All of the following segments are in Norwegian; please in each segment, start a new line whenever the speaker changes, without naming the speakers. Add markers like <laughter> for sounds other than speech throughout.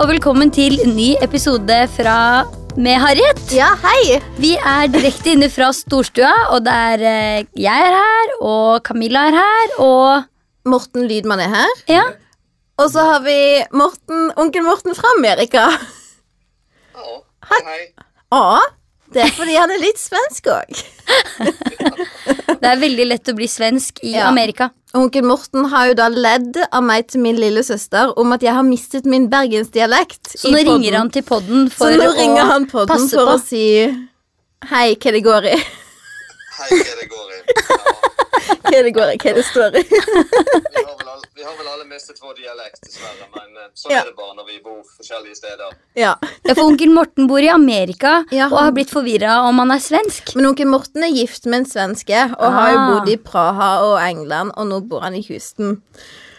og velkommen til ny episode fra med Harriet.
Ja, hei!
Vi er direkte inne fra storstua, og det er eh, jeg er her, og Camilla er her, og
Morten Lydmann er her.
ja.
Og så har vi Morten, onkel Morten fra Amerika.
Ja, hei, hei.
Å, det er fordi han er litt svensk òg.
Det er veldig lett å bli svensk i
Ja.
Amerika.
Onkel Morten har jo da ledd av meg til min lillesøster om at jeg har mistet min bergensdialekt.
Så nå
i podden.
ringer han til podden
Så
for
nå ringer han
å
podden
passe
for
på.
å si Hei, hva det går i?
Hei, hva det går i. Ja,
<laughs> Hva det går i, hva det står i?
vi, har vel alle, vi har vel alle mistet vår dialekt, dessverre. Men eh, sånn
Ja.
er det bare når vi bor forskjellige steder.
<laughs> Ja.
Ja, for onkel Morten bor i Amerika
Ja,
og har
han-
blitt forvirra om han er svensk.
Men onkel Morten er gift med en svenske og har jo
Ah.
bodd i Praha og England, og nå bor han i Houston.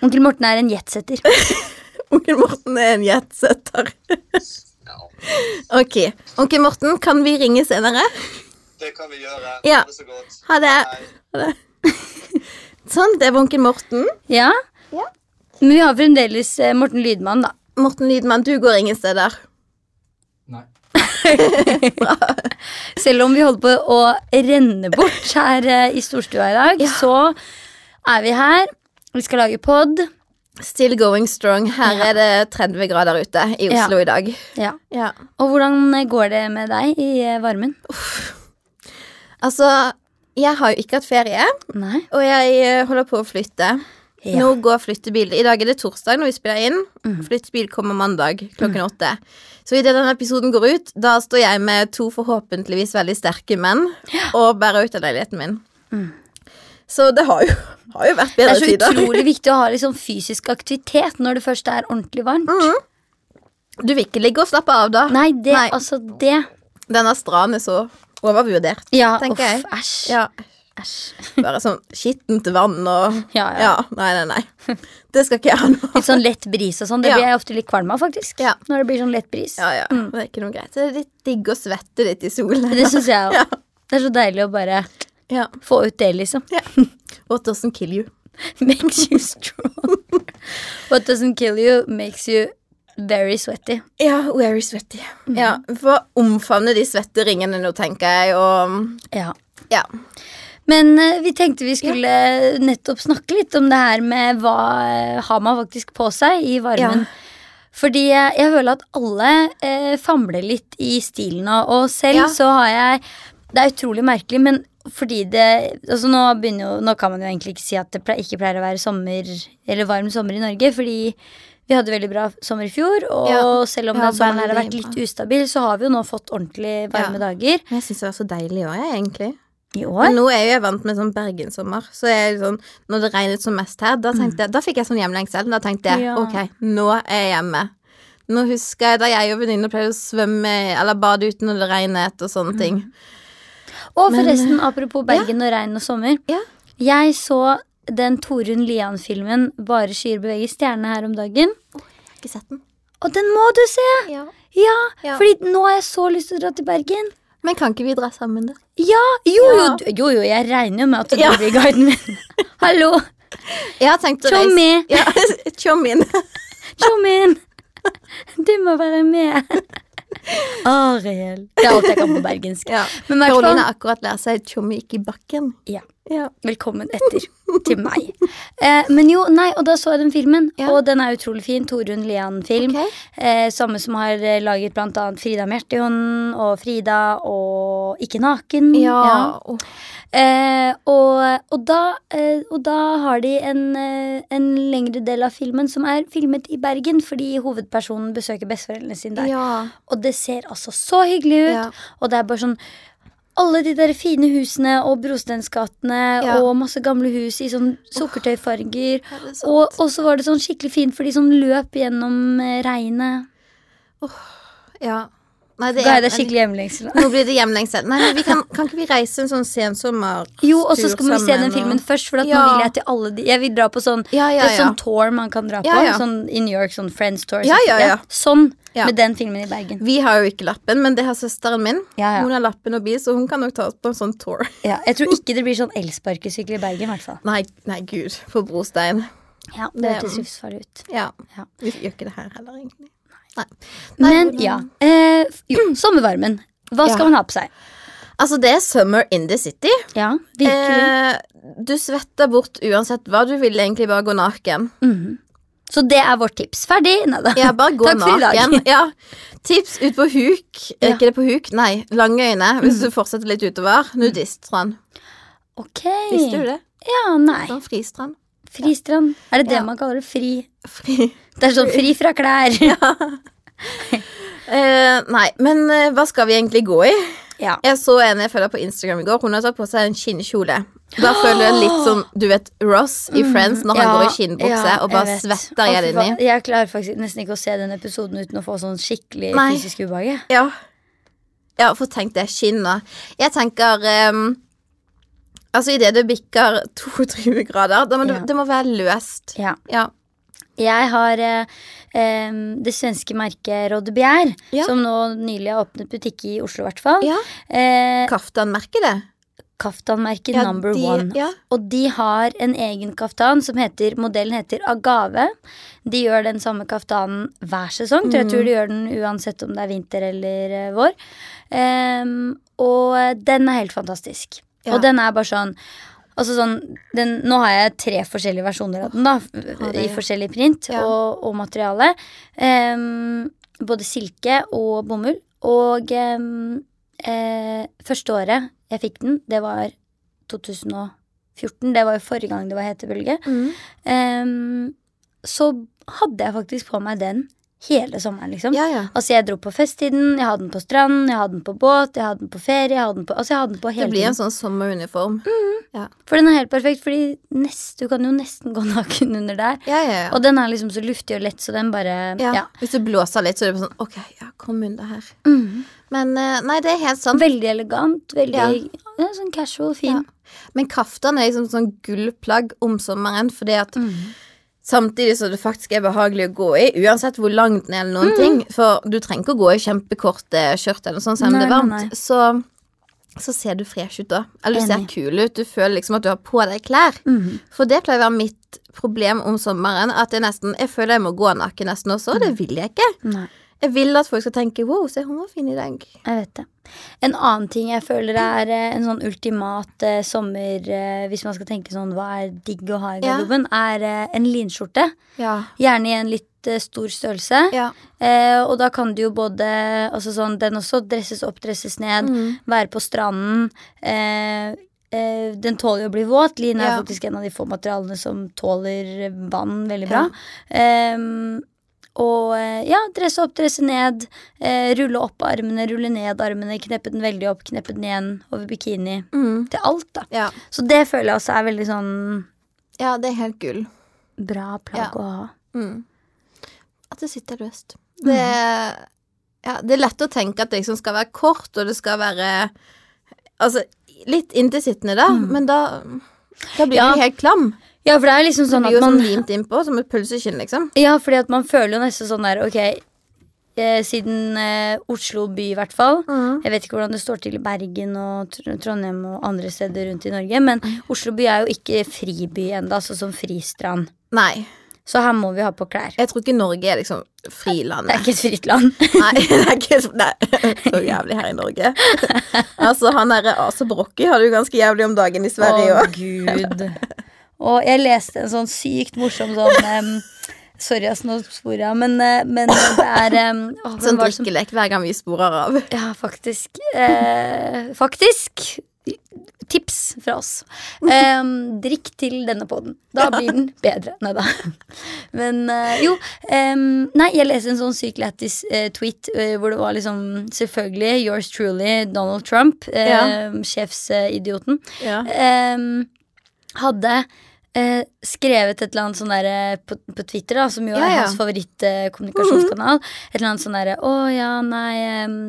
Onkel Morten er en jetsetter.
Onkel Morten er en jetsetter.
Ja,
Ok. Onkel Morten, kan vi ringe senere?
det kan vi gjøre.
Ja.
Ha det så godt.
Ha det.
Hei.
Sånn, det var onkel Morten.
Ja?
Ja.
Men vi har fremdeles eh, Morten Lydmann, da.
Morten Lydmann, du går ingen steder.
Nei.
Selv om vi holder på å renne bort her eh, i storstua i dag, så er vi her. Vi skal lage pod.
Still going strong. Her
Ja.
er det 30 grader ute i
Ja.
Oslo i dag.
Ja.
Ja.
Og hvordan eh, går det med deg i eh, varmen?
Altså, jeg har jo ikke hatt ferie,
Nei.
og jeg eh, holder på å flytte.
Ja. Mhm.
Nå går flyttebil. I dag er det torsdag når vi spiller inn. Flyttebil kommer mandag klokken åtte. Så idet denne episoden går ut, da står jeg med to forhåpentligvis veldig sterke menn og bærer ut av leiligheten min. Så det har jo, har jo vært
Mm. Det
bedre
er så
tider.
utrolig viktig å ha litt sånn fysisk aktivitet når det først er ordentlig varmt.
Mm. Du vil ikke ligge og slappe av, da.
Nei, det,
Nei.
altså det
Denne stranden er så overvurdert.
Ja,
Tenker
uff,
jeg.
æsj.
Ja,
æsj.
Bare sånn skittent vann og
<laughs> Ja, ja.
Nei, nei, nei. Det skal ikke jeg ha nå.
Litt sånn lett bris og sånn. Det
Ja.
blir jeg ofte litt kvalm av, faktisk.
Ja.
Når det blir sånn lett bris.
Ja, ja. Det er ikke noe greit. Det er litt digg å svette litt i solen.
Det syns jeg òg.
Ja.
Det er så deilig å bare
<laughs> Ja.
få ut det, liksom.
ja. What doesn't kill you?
<laughs> makes you strong. What doesn't kill you makes you very sweaty.
Ja, where is sweaty? Mm. Ja, For å omfavne de svette ringene nå, tenker jeg, og mm,
Ja.
Ja.
Men eh, vi tenkte vi skulle eh, nettopp snakke litt om det her med hva eh, har man faktisk på seg i varmen.
Ja.
Fordi eh, jeg føler at alle eh, famler litt i stilen nå. Og selv
Ja.
så har jeg Det er utrolig merkelig, men fordi det altså nå, begynner jo, nå kan man jo egentlig ikke si at det ple- ikke pleier å være sommer Eller varm sommer i Norge, fordi vi hadde veldig bra sommer i fjor. Og
Ja.
selv om
Ja,
den sommeren her har vært
veldig
litt ustabil, så har vi jo nå fått ordentlig varme
Ja.
dager
Men jeg syns det var så deilig òg, jeg, egentlig.
i
Men
år.
nå er jo jeg vant med sånn bergenssommer. Så jeg, er sånn, når det regnet som mest her, da, tenkte jeg, da fikk jeg sånn hjemlengsel. Da tenkte jeg
Ja.
ok, nå er jeg hjemme. Nå husker jeg da jeg og venninner pleide å svømme eller bade ute når det regnet og sånne ting.
Og
Men,
forresten, apropos Bergen og regn og sommer.
Ja.
Jeg så den Torunn Lian-filmen 'Bare skyer beveger stjernene' her om dagen.
Jeg har ikke sett den.
Og den må du se! Ja,
Ja.
fordi nå har jeg så lyst til å dra til Bergen.
Men kan ikke vi dra sammen, da?
Ja, jo, jo,
Ja.
du- jo, jo jeg regner jo med at du
Ja.
blir guiden min. <laughs> Hallo,
Jeg har tenkt å reise-
Tjommi.
Ja, <laughs> Tjommin.
Tjommin! <laughs> Du må være med. Ariel. Det er alt jeg kan på bergensk.
<laughs> Ja.
Men i hvert fall-
Karoline har akkurat lært seg Tjommi gikk i bakken.
Ja.
Ja.
Velkommen etter til meg. Eh, men jo, nei, og da så jeg den filmen,
Ja.
og den er utrolig fin. Torunn Lian-film.
Ok.
Eh, samme som har eh, laget blant annet Frida med hjertehånden og Frida og Ikke naken. Mm. Ja.
og-
Eh, og, og, da, eh, og da har de en, eh, en lengre del av filmen som er filmet i Bergen, fordi hovedpersonen besøker besteforeldrene sine der.
ja.
Og det ser altså så hyggelig ut.
Ja.
Og det er bare sånn alle de der fine husene og brosteinsgatene
Ja.
og masse gamle hus i sånn sukkertøyfarger.
Ja, det er sant.
og, og så var det sånn skikkelig fint for de som løp gjennom eh, regnet.
ja. Nei, det
Ga
er
jeg deg skikkelig hjemlengsel?
Nå blir det hjemlengsel. Nei, men vi kan, kan ikke vi reise en sånn sensommertur
Jo, og så skal vi se
sammen,
den
og-
filmen først, for at nå
Ja.
vil jeg til alle de Jeg vil dra på sånn
Ja, ja,
Det er
ja.
sånn tour man kan dra på.
Ja, ja.
Sånn i New York, sånn Friends Tour.
Ja, ja, ja.
Sånn
Ja.
med den filmen i Bergen.
Vi har jo ikke lappen, men det har søsteren min.
Ja, ja.
Hun har lappen og bil, så hun kan nok ta oss på en sånn tour. <laughs>
Ja, jeg tror ikke det blir sånn elsparkesykkel i Bergen, i hvert fall.
Nei, nei, gud, på brostein.
Ja, det
Det-
hørtes livsfarlig ut.
Ja.
Ja.
Vi gjør ikke det her heller, egentlig. Nei,
Men ja. Eh, f- jo,
<clears throat>
sommervarmen. Hva skal
Ja.
man ha på seg?
Altså, det er summer in the city.
Ja, virkelig.
Eh, du svetter bort uansett hva. Du vil egentlig bare gå naken.
Mhm. Så det er vårt tips. Ferdig? Nei da.
Ja, bare gå
Takk for i dag.
naken.
<laughs>
Ja. Tips ut på huk.
Ja.
Er
Mm.
Ikke det på huk, nei. Lange øyne hvis du fortsetter litt utover. Nudiststrand.
<laughs> Ok.
Visste du det?
Ja, nei.
Sånn fristrand.
Fristrand. Er det det
Ja.
man kaller det? Fri?
Fri.
Det er sånn fri fra
<laughs>
klær. Ja.
Eh, nei, men eh, hva skal vi egentlig gå i?
ja.
Jeg så en jeg følger på Instagram i går. Hun har tatt på seg en skinnkjole. Da
<gasps>
føler jeg litt som du vet Ross i Friends når han går i skinnbukse
ja,
og bare
jeg vet.
svetter
Å,
jeg
fy faen,
inni.
Jeg klarer faktisk nesten ikke å se den episoden uten å få sånn skikkelig
Nei.
fysisk ubehag. jeg.
Ja. ja, for tenk det. Skinn da. Jeg tenker ehm, Altså, idet det bikker 22 grader, da må det,
Ja.
det må være løst.
Ja.
Ja.
Jeg har eh, eh, det svenske merket Rodde Bjerr,
Ja.
som nå nylig har åpnet butikk i Oslo, i hvert fall.
ja.
Eh,
Kaftanmerket, det.
Kaftanmerket
Ja,
number
de-
one.
Ja.
Og de har en egen kaftan som heter Modellen heter Agave. De gjør den samme kaftanen hver sesong. tror Jeg tror de gjør den uansett om det er vinter eller eh, vår. Ehm, og eh, den er helt fantastisk.
Ja.
Og den er bare sånn Altså sånn, den, Nå har jeg tre forskjellige versjoner av den, da. f-
ha det,
I
ja.
forskjellig print
Ja.
og, og materiale. Ehm, både silke og bomull. Og ehm, eh, første året jeg fikk den, det var 2014. Det var jo forrige gang det var hetebølge.
Mm.
Ehm, så hadde jeg faktisk på meg den hele sommeren, liksom.
ja, ja.
Altså Jeg dro på fest i den, jeg hadde den på strand, jeg hadde den på båt, jeg hadde den på ferie. Jeg hadde den på, altså jeg hadde den på
Det
hele
blir en
tiden.
sånn sommeruniform.
For den er helt perfekt, Fordi nest, du kan jo nesten gå <laughs> naken under der.
Ja, ja, ja.
Og den er liksom så luftig og lett, så den bare
ja.
Ja.
Hvis du blåser litt, så er det bare sånn OK, ja, kom under her.
Mhm.
Men eh, nei, det er helt sant.
Veldig elegant, veldig
Ja.
ja, sånn casual, fin.
Ja. Men kaftan er liksom sånn gullplagg om sommeren, fordi at
Mm.
samtidig som det faktisk er behagelig å gå i, uansett hvor langt den er eller
Mm.
noen ting, for du trenger ikke å gå i kjempekorte skjørt eller noe sånt, selv om
Nei,
det er varmt,
nei, nei.
så så ser du fresh ut da. Eller du ser
Enig.
kul ut. Du føler liksom at du har på deg klær.
Mhm.
For det pleier å være mitt problem om sommeren. At jeg nesten, jeg føler jeg må gå naken nesten også, og
Mm.
det vil jeg ikke.
Nei,
Jeg vil at folk skal tenke 'wow, se hun var fin i dag'.
jeg vet det. En annen ting jeg føler er eh, en sånn ultimat eh, sommer eh, Hvis man skal tenke sånn hva er digg å ha i
Ja.
garderoben, er eh, en linskjorte.
Ja.
Gjerne i en litt eh, stor størrelse.
ja.
Eh, og da kan du jo både altså sånn, Den også dresses opp, dresses ned. Være på stranden. Eh, eh, den tåler jo å bli våt. Lin er
Ja.
faktisk en av de få materialene som tåler eh, vann veldig bra.
Ja.
Ehm, og eh, ja, dresse opp, dresse ned. Eh, rulle opp armene, rulle ned armene. Kneppe den veldig opp, kneppe den igjen over bikini.
Mm.
Til alt, da.
ja.
Så det føler jeg også er veldig sånn
Ja, det er helt gull.
bra plagg
Ja.
å ha.
Mm. At det sitter løst. Det, ja, det er lett å tenke at det liksom skal være kort, og det skal være Altså, litt inntilsittende, da, men da da blir
Mm. Ja,
du helt klam.
Ja, for det er liksom
Du
sånn
blir jo
at
sånn
man
limt innpå, som et pølseskinn, liksom.
Ja, fordi at man føler jo nesten sånn der Ok, eh, siden eh, Oslo by i hvert fall Jeg vet ikke hvordan det står til i Bergen og Tr- Trondheim og andre steder rundt i Norge Men Oslo by er jo ikke friby enda, altså som fristrand
Nei.
Så her må vi ha på klær
Jeg tror ikke Norge er liksom
<laughs> Det er
frilandet.
ikke et fritt land
Nei, det er ikke nei, så jævlig her i Norge.
<laughs>
Altså, han derre Asa Brokki har det jo ganske jævlig om dagen i Sverige
Å
òg.
Gud Og jeg leste en sånn sykt morsom sånn em, Sorry, ass, nå sporer jeg Men, eh, men det er um, oh,
Sånn drikkelek hver gang vi sporer av.
Ja, faktisk. Eh, faktisk. Tips fra oss. Eh, drikk til denne poden. Da blir den bedre. Nei da. Men eh, jo. eh, nei, jeg leste en sånn syk lættis eh, tweet eh, hvor det var liksom selvfølgelig yours truly Donald Trump, eh,
Ja.
sjefsidioten,
Ja.
eh, hadde eh, skrevet et eller annet sånn der eh, på, på Twitter, da, som jo
Ja,
er
ja. Mhm.
hans favorittkommunikasjonskanal. Et eller annet sånn derre Å ja, nei em,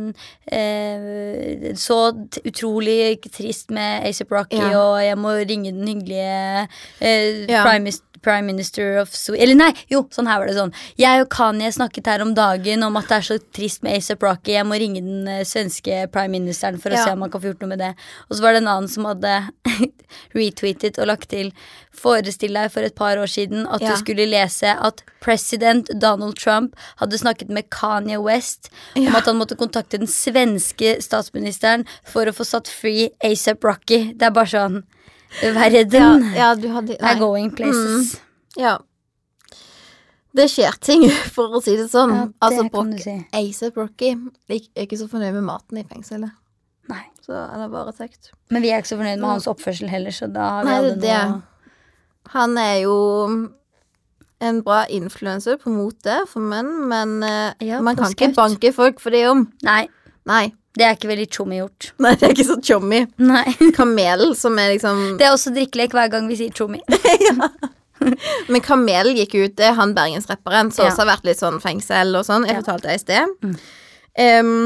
eh, Så t- utrolig trist med Asap Rocky,
Ja.
og jeg må ringe den hyggelige eh,
Ja.
prime, prime minister of Sweden Eller nei, jo, sånn her var det sånn. Jeg og Kanye snakket her om dagen om at det er så trist med ASAP Rocky. Jeg må ringe den eh, svenske prime ministeren for
Ja.
å se om han kan få gjort noe med det. Og så var det en annen som hadde <laughs> retweetet og lagt til Forestill deg for et par år siden at
Ja.
du skulle lese at president Donald Trump hadde snakket med Kanye West om
Ja.
at han måtte kontakte den svenske statsministeren for å få satt free ASAP Rocky. Det er bare sånn
Ja,
Verden
ja, Mm, du hadde
er going places.
Ja. Det skjer ting, <laughs> for å si det sånn.
Ja, det
altså,
kan du
Brock-
si.
A$AP Rocky er ikke- er ikke så fornøyd med maten i fengselet.
Nei.
Så han er varetekt.
Men vi er ikke så fornøyd med hans oppførsel heller, så da har vi
Nei,
alle
det er
noe-
det. Han er jo en bra influenser på mote for menn, men eh,
Ja,
man
på
kan ikke
skaut.
banke folk for det om.
Nei,
Nei. <laughs>
det er ikke veldig chummy gjort.
Nei, det er ikke så chummy.
Nei.
Kamelen som er liksom
<laughs> Det er også drikkelek hver gang vi sier chummy.
Men Kamelen gikk ut, det er han bergensrapperen som
Ja.
også har vært litt sånn fengsel og sånn. Jeg
Ja. Mm.
fortalte det i sted. Em,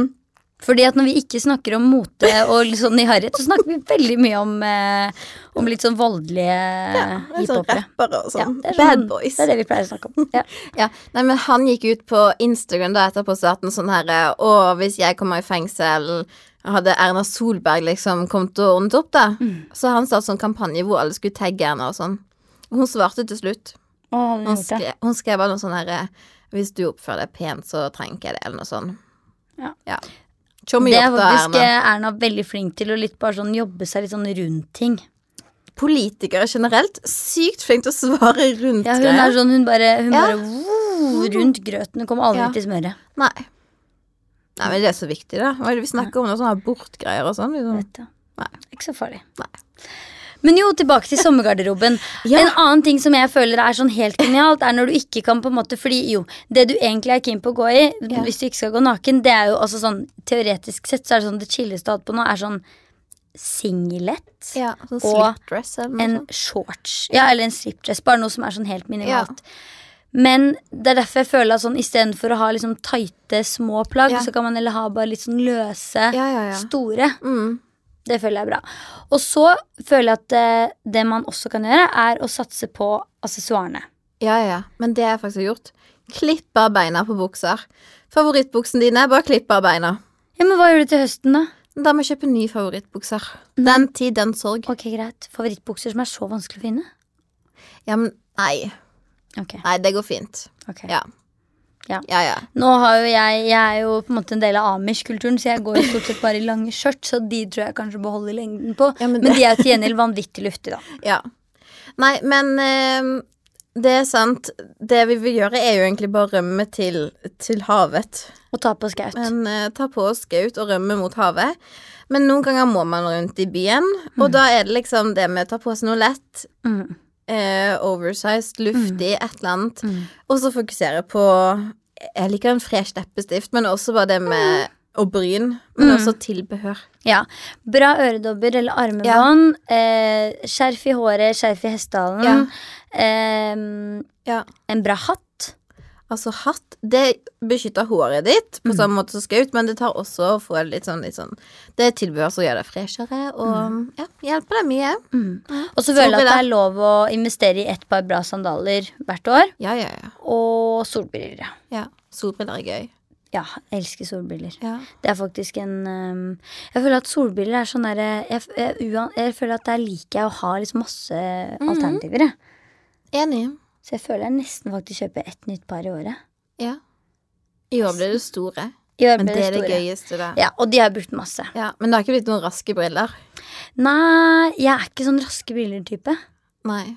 Fordi at når vi ikke snakker om mote og litt sånn i harriet, så snakker vi veldig mye om, eh, om litt sånn voldelige
en sånn
hiphopere.
rappere og
Ja,
sånn.
det er
Bad
sånn-
boys.
Det er det vi pleier å snakke om. Ja.
Ja, nei, men Han gikk ut på Instagram da etterpå og sa at en sånn her Å, hvis jeg kommer i fengsel Hadde Erna Solberg liksom kommet og ordnet opp, da?
Mm.
Så han startet sånn kampanje hvor alle skulle tagge henne og sånn. Og hun svarte til slutt.
Å, har vi
Hun
gjort det?
skrev, hun skrev bare noe sånn her Hvis du oppfører deg pent, så trenger ikke jeg det, eller noe sånt.
Ja.
ja. Tjommi
Det er
gjort da,
faktisk
Erna.
eh, Erna veldig flink til å litt bare sånn jobbe seg litt sånn rundt ting.
Politikere generelt sykt flink til å svare rundt
Ja, hun
greier.
er sånn, hun bare, hun
Ja.
bare «Woo», rundt grøten. Hun kommer aldri
Ja.
til smøret.
Nei. Nei, men det er så viktig, da. Hva er det vi snakker om nå? Sånne abortgreier og sånn. Liksom.
Vet du.
Nei.
Ikke så farlig.
Nei.
Men jo, tilbake til sommergarderoben.
<laughs> Ja.
En annen ting som jeg føler er sånn helt genialt, er når du ikke kan på en måte Fordi jo, det du egentlig er keen på å gå i,
Ja.
hvis du ikke skal gå naken, det er jo altså sånn Teoretisk sett så er det sånn det chilleste jeg har hatt på nå, er sånn singlet.
Ja, sånn
Og
slipdress eller noe
En
sånt.
shorts. Ja, eller en stripdress. Bare noe som er sånn helt
Ja.
minimalt. Men det er derfor jeg føler at sånn istedenfor å ha liksom tighte, små plagg,
Ja.
så kan man heller ha bare litt sånn løse,
Ja, ja, ja.
store.
Mm.
Det føler jeg er bra. Og så føler jeg at eh, det man også kan gjøre, er å satse på aksessoarene.
Ja, ja, ja. Men det har jeg faktisk gjort. Klipp av beina på bukser. Favorittbuksen din er bare klipp av beina.
Ja, men hva gjør du til høsten, da?
Da må jeg kjøpe nye favorittbukser. Den tid, den sorg.
Ok, greit. Favorittbukser som er så vanskelig å finne?
Ja, men nei.
Ok,
Nei, det går fint.
ok.
Ja.
Ja.
ja. ja.
Nå har jo jeg, jeg er jo på en måte en del av amish-kulturen, så jeg går jo stort sett bare i lange skjørt, så de tror jeg kanskje beholder lengden på.
Ja, men
men,
det-
de er jo til gjengjeld vanvittig luftige, da.
Ja. Nei, men eh, det er sant. Det vi vil gjøre, er jo egentlig bare å rømme til, til havet.
Og ta på skaut.
Men eh, ta på oss skaut og rømme mot havet. Men noen ganger må man rundt i byen, og da er det liksom det med å ta på seg noe lett,
Mm.
eh, oversized, luftig, et eller annet.
mm.
Og så fokusere på Jeg liker en fresh leppestift, men også bare det med Og bryn, men også tilbehør.
Ja. Bra øredobber eller armebånd. Eh, skjerf i håret, skjerf i hestehalen.
Ja.
Eh,
Ja.
en bra hatt.
Altså hatt, det beskytter håret ditt på samme måte som skaut, men det tar også å få litt sånn, litt sånn Det er tilbehør som gjør deg freshere, og ja, hjelper deg mye.
Og så føler jeg at det
Solbriller.
er lov å investere i ett par bra sandaler hvert år.
Ja, ja, ja.
Og solbriller. ja.
ja. Solbriller er gøy.
Ja, jeg elsker solbriller.
Ja.
Det er faktisk en ehm, Jeg føler at solbriller er sånn derre jeg, f- jeg, uan- jeg føler at der liker jeg å ha liksom masse
Mhm.
alternativer. jeg.
Enig.
Så jeg føler jeg nesten faktisk kjøper ett nytt par i året.
Ja. I år blir det store.
I år
Men
blir
det er det
store.
gøyeste, da. Ja.
Ja, og de har jeg brukt masse.
Men det har ikke blitt noen raske briller.
Nei, jeg er ikke sånn raske briller-type,
Nei.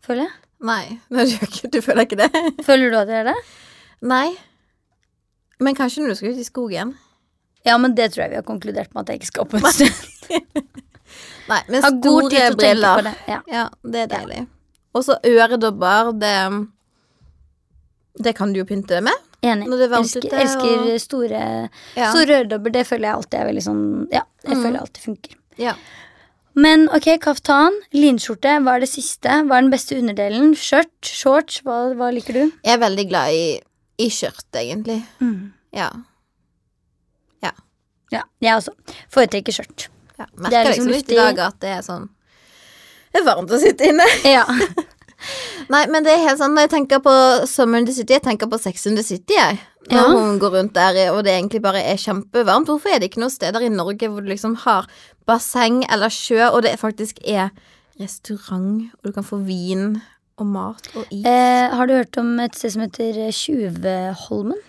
føler jeg.
Nei. <laughs> Nei, du, gjør ikke- du føler
<laughs>
ikke det?
Føler du at jeg er det?
Nei. Men kanskje når du skal ut i skogen.
Ja, men det tror jeg vi har konkludert med at jeg ikke skal opp
<laughs>
en stund.
Nei, men
Ha god tid til å
store
tenke på
briller.
det. Ja.
Ja, det er deilig. Og så øredobber. Det Det kan du jo pynte deg med.
Enig.
Når det er varmt
elsker,
ute,
elsker
og-
store
Ja.
Store øredobber, det føler jeg alltid er veldig sånn Ja, jeg
Mm.
føler alltid funker.
Ja.
Men ok, kaftan, linskjorte, hva er det siste? Hva er den beste underdelen? Skjørt, shorts, hva, hva liker du?
Jeg er veldig glad i, i skjørt, egentlig. Ja.
Ja, jeg også. Foretrekker skjørt.
<laughs> ja. Merker det er liksom litt i
luftig.
dag at det er sånn Det er varmt å sitte inne.
Ja.
Nei, men det er helt sant. Når jeg tenker på Summer in the City, jeg tenker på Sex in the City. Jeg. Når
Ja.
hun går rundt der og det egentlig bare er kjempevarmt. Hvorfor er det ikke noen steder i Norge hvor du liksom har basseng eller sjø, og det faktisk er restaurant, og du kan få vin og mat og
<laughs>
is?
Eh, har du hørt om et sted som heter eh,
<laughs>
Tjuvholmen?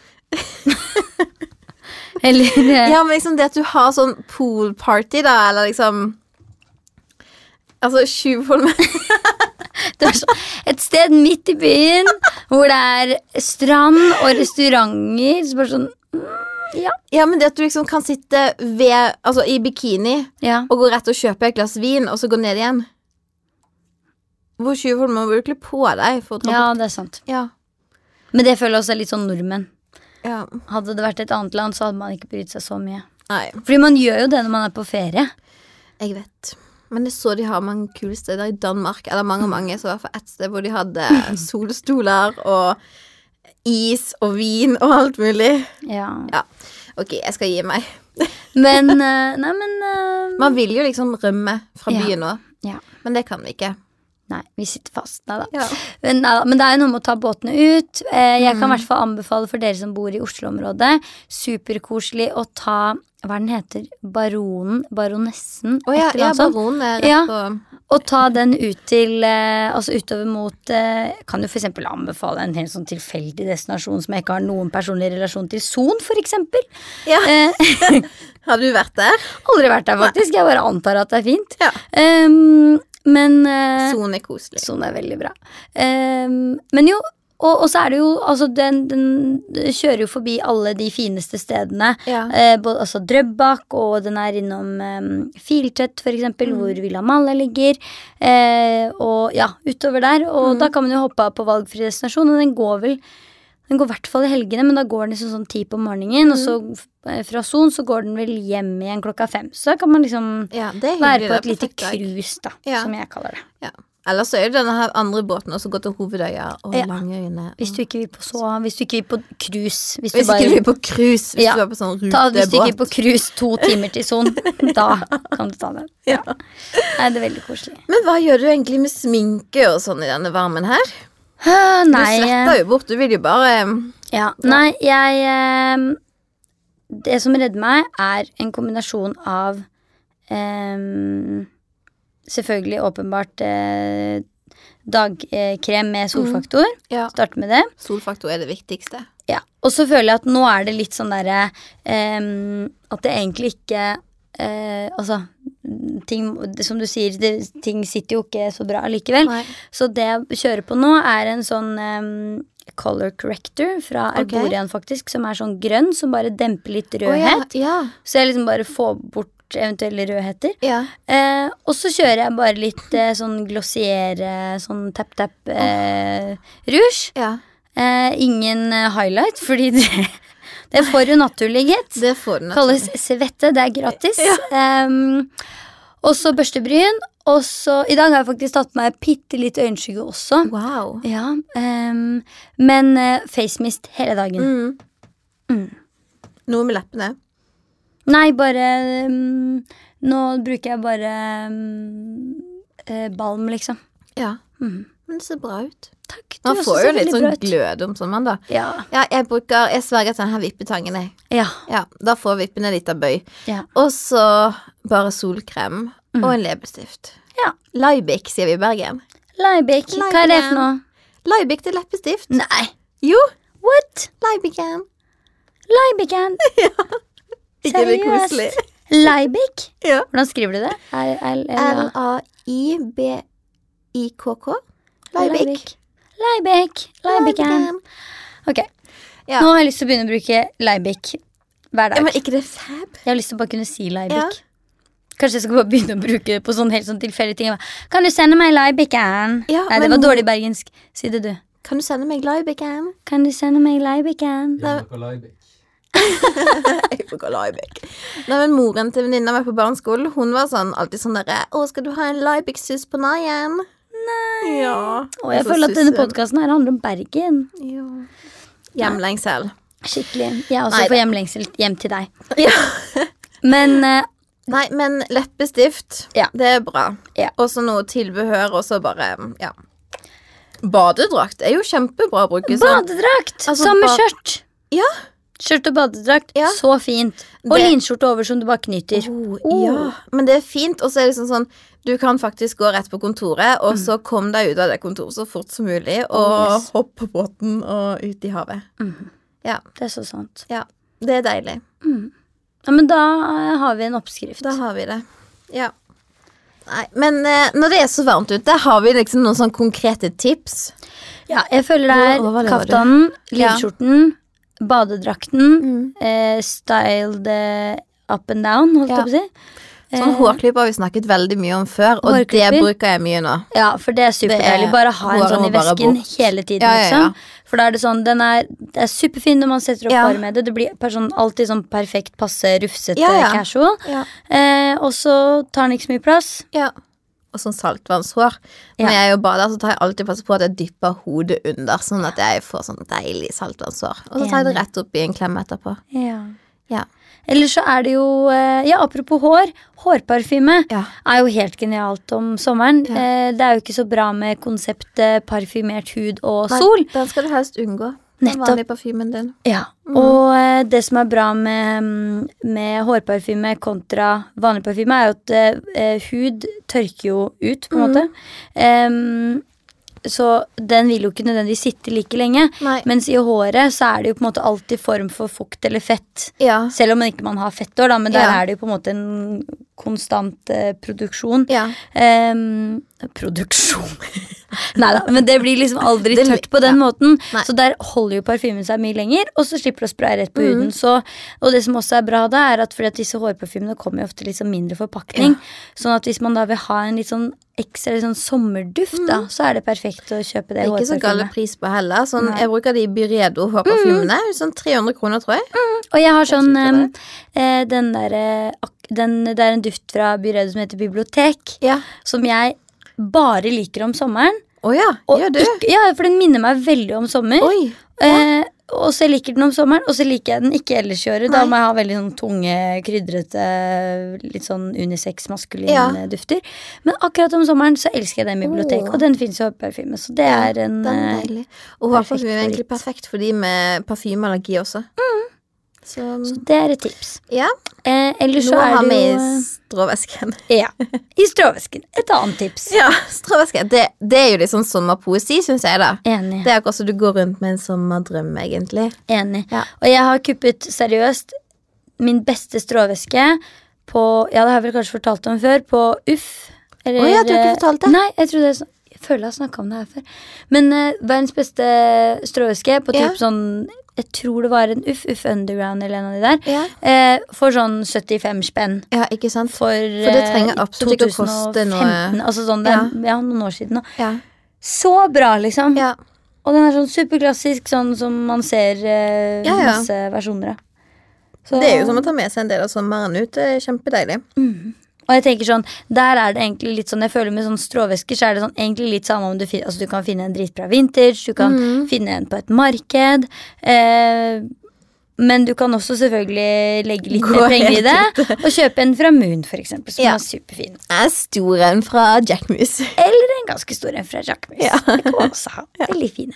Eller eh,
Ja, men liksom det at du har sånn pool party, da, eller liksom Altså, Tjuvholmen
<laughs> det er så, Et sted midt i byen hvor det er strand og restauranter. Så bare sånn mm, Ja.
Ja, men det at du liksom kan sitte ved, altså, i bikini
ja.
og gå rett og kjøpe et glass vin, og så gå ned igjen. Hvor Tjuvholmen må du ikke på deg for å dra
Ja,
på
det er sant.
ja.
Men det føler jeg også er litt sånn nordmenn.
ja.
Hadde det vært et annet land, så hadde man ikke brydd seg så mye.
Nei,
Fordi man gjør jo det når man er på ferie.
jeg vet. Men jeg så de har mange kule steder i Danmark, eller mange, mange. Så i hvert fall ett sted hvor de <laughs> hadde solstoler og is og vin og alt mulig.
Ja.
Ja, ok, jeg skal gi meg.
Men eh, Nei, men eh,
Man vil jo liksom rømme fra
Ja.
byen nå,
ja.
men det kan vi ikke.
Nei, vi sitter fast. Nei da.
Ja.
Men, neida, men det er jo noe med å ta båtene ut. Eh, Jeg
Mm.
kan i hvert fall anbefale for dere som bor i Oslo-området. Superkoselig å ta hva er den heter? Baronen? Baronessen?
Å ja,
et eller
ja
annet sånt.
baron er rett
Ja.
på
Og ta den ut til eh, Altså utover mot eh, Kan jo f.eks. anbefale en helt sånn tilfeldig destinasjon som jeg ikke har noen personlig relasjon til. Son, f.eks.
<laughs> Ja,
Eh,
har du vært der?
aldri vært der, faktisk. Jeg bare antar at det er fint.
Ja.
Em, men eh,
Son er koselig.
Sånn er veldig bra. Ehm, men jo, og, og så er det jo altså den, den kjører jo forbi alle de fineste stedene.
Ja.
Eh, både, altså Drøbak, og den er innom um, Filtvet, for
Mm.
eksempel, hvor Villa Malla ligger. Eh, og ja, utover der. Og
Mm.
da kan man jo hoppe av på valgfri destinasjon, og den går vel den går i hvert fall i helgene, men da går den liksom sånn ti på morgenen. Og så
Mm.
eh, fra Son så går den vel hjem igjen klokka fem. Så da kan man liksom
Ja, det er
være på
hyggelig. det er
et lite
perfekt dag.
cruise, da,
Ja.
som jeg kaller det.
Ja. Eller så er det denne her andre båten også, gå til Hovedøya og
Ja.
Langøyene.
Hvis du ikke vil på så Hvis du ikke vil på cruise. Hvis,
Mm.
du
Hvis
bare
ikke du er på cruise, hvis
Ja.
du er på sånn
ta, hvis du ikke vil
rutebåt.
på cruise to timer til
<laughs>
Son, da kan du ta den.
Ja.
Nei, det er veldig koselig.
Men hva gjør du egentlig med sminke og sånn i denne varmen her?
Ah,
Du
Nei, eh,
svetter jo bort, du vil jo bare eh,
ja. Nei, jeg eh, Det som redder meg, er en kombinasjon av eh, Selvfølgelig åpenbart eh, dagkrem med solfaktor.
Mhm. ja.
Starte med det.
Solfaktor er det viktigste.
Ja, og så føler jeg at nå er det litt sånn derre ehm, At det egentlig ikke eh, Altså, ting, som du sier, det, ting sitter jo ikke så bra likevel.
Nei.
Så det jeg kjører på nå, er en sånn ehm, color corrector fra
Ok.
Arborian, faktisk, som er sånn grønn, som bare demper litt
Å ja,
rødhet.
ja.
Så jeg liksom bare får bort eventuelle rødheter.
ja.
Eh, og så kjører jeg bare litt eh, sånn glossiere, sånn tap-tap-rouge.
ja.
Eh, ingen eh, highlight, fordi det, <laughs> det får jo naturlig, gitt.
Det får du naturlig.
Kalles svette, det er gratis. Ehm, og så børstebryn. Og så I dag har jeg faktisk tatt på meg bitte litt øyenskygge også.
Wow.
Ja, ehm, men eh, face mist hele dagen.
Mm.
Mm.
Noe med leppene.
Nei, bare mm, Nå bruker jeg bare mm, eh, balm, liksom.
Ja.
Mm.
Men det ser bra ut.
Takk. Du
Man
også
får
ser
jo litt
veldig
sånn
bra ut.
glød om sommeren, da.
Ja.
Ja, jeg bruker Jeg sverger til denne vippetangen, jeg.
Ja.
Ja, da får vippene litt av bøy.
ja. Mm.
Og så bare solkrem og en leppestift.
Ja.
Laibik, sier vi i Bergen.
Leibek, hva er det for noe?
Leibiken. Laibik til leppestift.
Nei.
Jo,
What?
Laibiken.
Leibiken.
Ikke det
Seriøst?
koselig?
Leibik?
<laughs> Ja.
Hvordan skriver du det? L L E L-
L-a-i-b-i-k-k. Laibik.
Leibik. Leibik. Leibiken.
Laibiken.
Ok.
Ja.
Nå har jeg lyst til å begynne å bruke Leibik hver
Ja,
dag.
men ikke det er fab?
Jeg har lyst til å bare kunne si Leibik.
Ja.
Kanskje jeg skal bare begynne å bruke det på sånn helt sånn tilfeldige ting. Jeg bare, Kan du sende meg Leibiken?
Ja,
Nei, det
men-
var dårlig bergensk. Si det, du.
Kan du sende meg Laibiken? <laughs>
Kan du sende meg Leibiken?
Nei.
på Leibik.
Jeg bruker Laibik. Nei, men Moren til venninna mi på barneskolen Hun var sånn, alltid sånn derre 'Å, skal du ha en Laibik-sus på naien?' Nei. Ja.
Og jeg
Så
føler at denne
sussen.
podkasten her handler om Bergen.
Ja. Hjemlengsel.
Skikkelig. Jeg også
Nei,
får
da.
hjemlengsel hjem til deg.
Ja.
Men
<laughs>
eh,
Nei, men leppestift,
Ja.
det er bra.
Ja.
Og så noe tilbehør, og så bare Ja. Badedrakt er jo kjempebra å bruke. sånn.
Badedrakt!
Altså,
Samme
ba-
skjørt.
Ja.
Skjørt og badedrakt.
Ja.
Så fint. Og
Det-
linskjorte over som du bare knyter.
Oh, ja, men det er fint. Og så er det liksom sånn Du kan faktisk gå rett på kontoret, og så kom deg ut av det kontoret så fort som mulig, og
Oh, yes.
hopp på båten og ut i havet. Ja,
Det er så sant.
ja. Det er deilig.
Ja, men da eh, har vi en oppskrift.
Da har vi det. Ja. Nei, men eh, når det er så varmt ute, har vi liksom noen sånn konkrete tips?
Ja, jeg føler det er
Hvor overlever du?
kaftanen,
Ja. Mm.
livskjorten, badedrakten, eh, styled eh, up and down, holdt jeg
Ja.
på å si.
Sånn hårklype har vi snakket veldig mye om før, og det
Hårklipper?
bruker jeg mye nå.
Ja, for det er superdeilig.
Det er-
Bare ha en
håret
sånn i
må bare
vesken
bort.
hele tiden,
Ja, ja, ja.
liksom. For da er det sånn, den er, det er superfin når man setter opp
Ja.
håret med det. Det blir per- sånn, alltid sånn perfekt, passe, rufsete,
Ja, ja.
casual.
Ja.
Eh, og så tar den ikke så mye plass.
Ja. Og sånn saltvannshår. Når
Ja.
jeg er og bader, så tar jeg alltid passe på at jeg dypper hodet under, sånn at jeg får sånn deilig saltvannshår. Og så tar jeg
Enig.
det rett opp i en klem etterpå.
Ja.
Ja.
Eller så er det jo eh, Ja, apropos hår. Hårparfyme
Ja.
er jo helt genialt om sommeren. Eh, Det er jo ikke så bra med konseptet parfymert hud og sol.
Den skal du helst unngå. Den
Nettopp.
vanlige parfymen din.
Ja. Og eh, det som er bra med, mm, med hårparfyme kontra vanlig parfyme, er jo at eh, eh, hud tørker jo ut, på en måte. Em, så den vil jo ikke nødvendigvis sitte like lenge.
Nei.
Mens i håret så er det jo på en måte alltid form for fukt eller fett.
Ja.
Selv om man ikke man har fettår, da, men der
Ja.
er det jo på en måte en konstant eh, produksjon.
Ja.
Em, Ehm, produksjon <laughs> Nei da, men det blir liksom aldri
Det-
tørt på den måten.
Nei.
Så der holder jo parfymen seg mye lenger, og så slipper det å spraye rett på
Mm.
huden. Så, og det som også er bra da, er at fordi at disse hårparfymene kommer jo ofte litt sånn mindre forpakning. Sånn at hvis man da vil ha en litt sånn ekstra litt sånn sommerduft, da, så er det perfekt å kjøpe det
Mm. Det er ikke så gale
hårparfymet.
pris på heller. Sånn, jeg bruker de Byredo hårparfymene. Sånn 300 kroner, tror jeg.
Og jeg har sånn
Jeg synes
em, eh, den derre ak- den, Det er en duft fra Byredo som heter Bibliotek.
Ja.
som jeg bare liker om sommeren.
Å ja,
Og
gjør du?
Ikke, ja, for den minner meg veldig om sommer.
Oi.
Eh, og så liker den om sommeren, og så liker jeg den ikke ellers i året. Da må jeg ha veldig sånn tunge, krydrete, litt sånn unisex-maskuline
Ja.
dufter. Men akkurat om sommeren så elsker jeg den bibliotek,
Åh.
og den fins jo i parfyme. Så det er en
Oh. Den er
eh,
deilig. Og
perfekt
hårparfyme er egentlig
favoritt.
perfekt for de med parfymeallergi også. Mm. Så
så det er et tips.
ja,
Eh, ellers så
noe å
er
ha
det
med
jo
i stråvesken. <laughs>
eh, ja, I stråvesken. Et annet tips.
Ja, stråvæske. Det, det er jo litt sånn sommerpoesi, syns jeg, da.
Enig.
Det er akkurat som du går rundt med en sommerdrøm, egentlig.
Enig.
Ja.
Og jeg har kuppet seriøst min beste stråvæske på Ja, det har jeg vel kanskje fortalt om før. På Uff. Eller,
Å, jeg tror ikke du fortalte det.
Nei, jeg trodde jeg, sn- jeg føler jeg har snakka om det her før. Men eh, verdens beste stråvæske på typ
Ja.
sånn Jeg tror det var en Uff Uff Underground eller en av de der.
Ja.
eh, for sånn 75 spenn.
Ja, ikke sant?
For,
For det trenger
eh,
absolutt ikke å koste noe.
2015, Altså sånn, det er, ja. noen år siden nå.
Ja.
Så bra, liksom.
ja.
Og den er sånn superklassisk, sånn som man ser eh,
Ja, ja.
masse versjoner av. Så-
Det er jo som å ta med seg en del av sommeren ut. Det er kjempedeilig.
Og jeg tenker sånn, der er det egentlig litt sånn, jeg føler med sånn stråvesker, så er det sånn egentlig litt samme om du finner, altså du kan finne en dritbra vintage, du kan
Mhm.
finne en på et marked, eh, men du kan også selvfølgelig legge litt
Gå
mer penger i
helt
det, og kjøpe en fra Moon for eksempel, som
Ja.
er superfin.
Jeg er stor en fra Jackmus.
Eller en ganske stor en fra Jacquemus.
<laughs> Ja.
Det kan man også ha. Veldig fine.